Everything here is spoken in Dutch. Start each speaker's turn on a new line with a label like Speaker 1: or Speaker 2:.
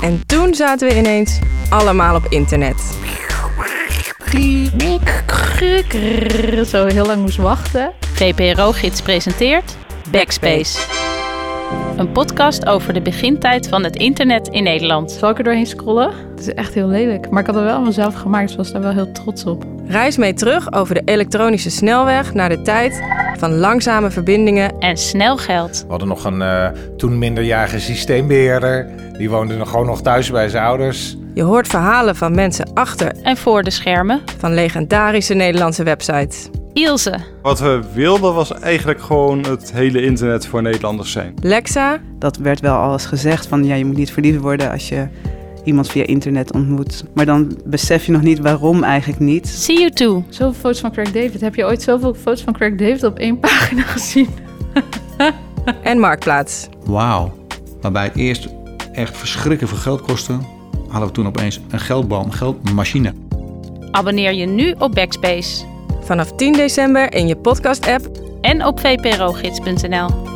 Speaker 1: En toen zaten we ineens allemaal op internet.
Speaker 2: Zo heel lang moest wachten. VPRO-gids presenteert Backspace. Een podcast over de begintijd van het internet in Nederland. Zal ik er doorheen scrollen? Het is echt heel lelijk. Maar ik had het wel mezelf gemaakt, dus was daar wel heel trots op.
Speaker 1: Reis mee terug over de elektronische snelweg naar de tijd van langzame verbindingen.
Speaker 2: En snel geld.
Speaker 3: We hadden nog een eh, toen minderjarige systeembeheerder. Die woonde nog gewoon nog thuis bij zijn ouders.
Speaker 1: Je hoort verhalen van mensen achter
Speaker 2: En voor de schermen
Speaker 1: van legendarische Nederlandse websites.
Speaker 2: Ilse.
Speaker 4: Wat we wilden was eigenlijk gewoon het hele internet voor Nederlanders zijn.
Speaker 1: Lexa,
Speaker 5: dat werd wel al eens gezegd van ja, je moet niet verliefd worden als je iemand via internet ontmoet. Maar dan besef je nog niet waarom eigenlijk niet.
Speaker 2: See you too.
Speaker 6: Zoveel foto's van Craig David. Heb je ooit zoveel foto's van Craig David op één pagina gezien?
Speaker 1: en Marktplaats.
Speaker 7: Wauw. Waarbij het eerst echt verschrikkelijk veel geld kostte, hadden we toen opeens een geldboom, een geldmachine.
Speaker 2: Abonneer je nu op Backspace.
Speaker 1: Vanaf 10 december in je podcast-app
Speaker 2: En op vprogids.nl.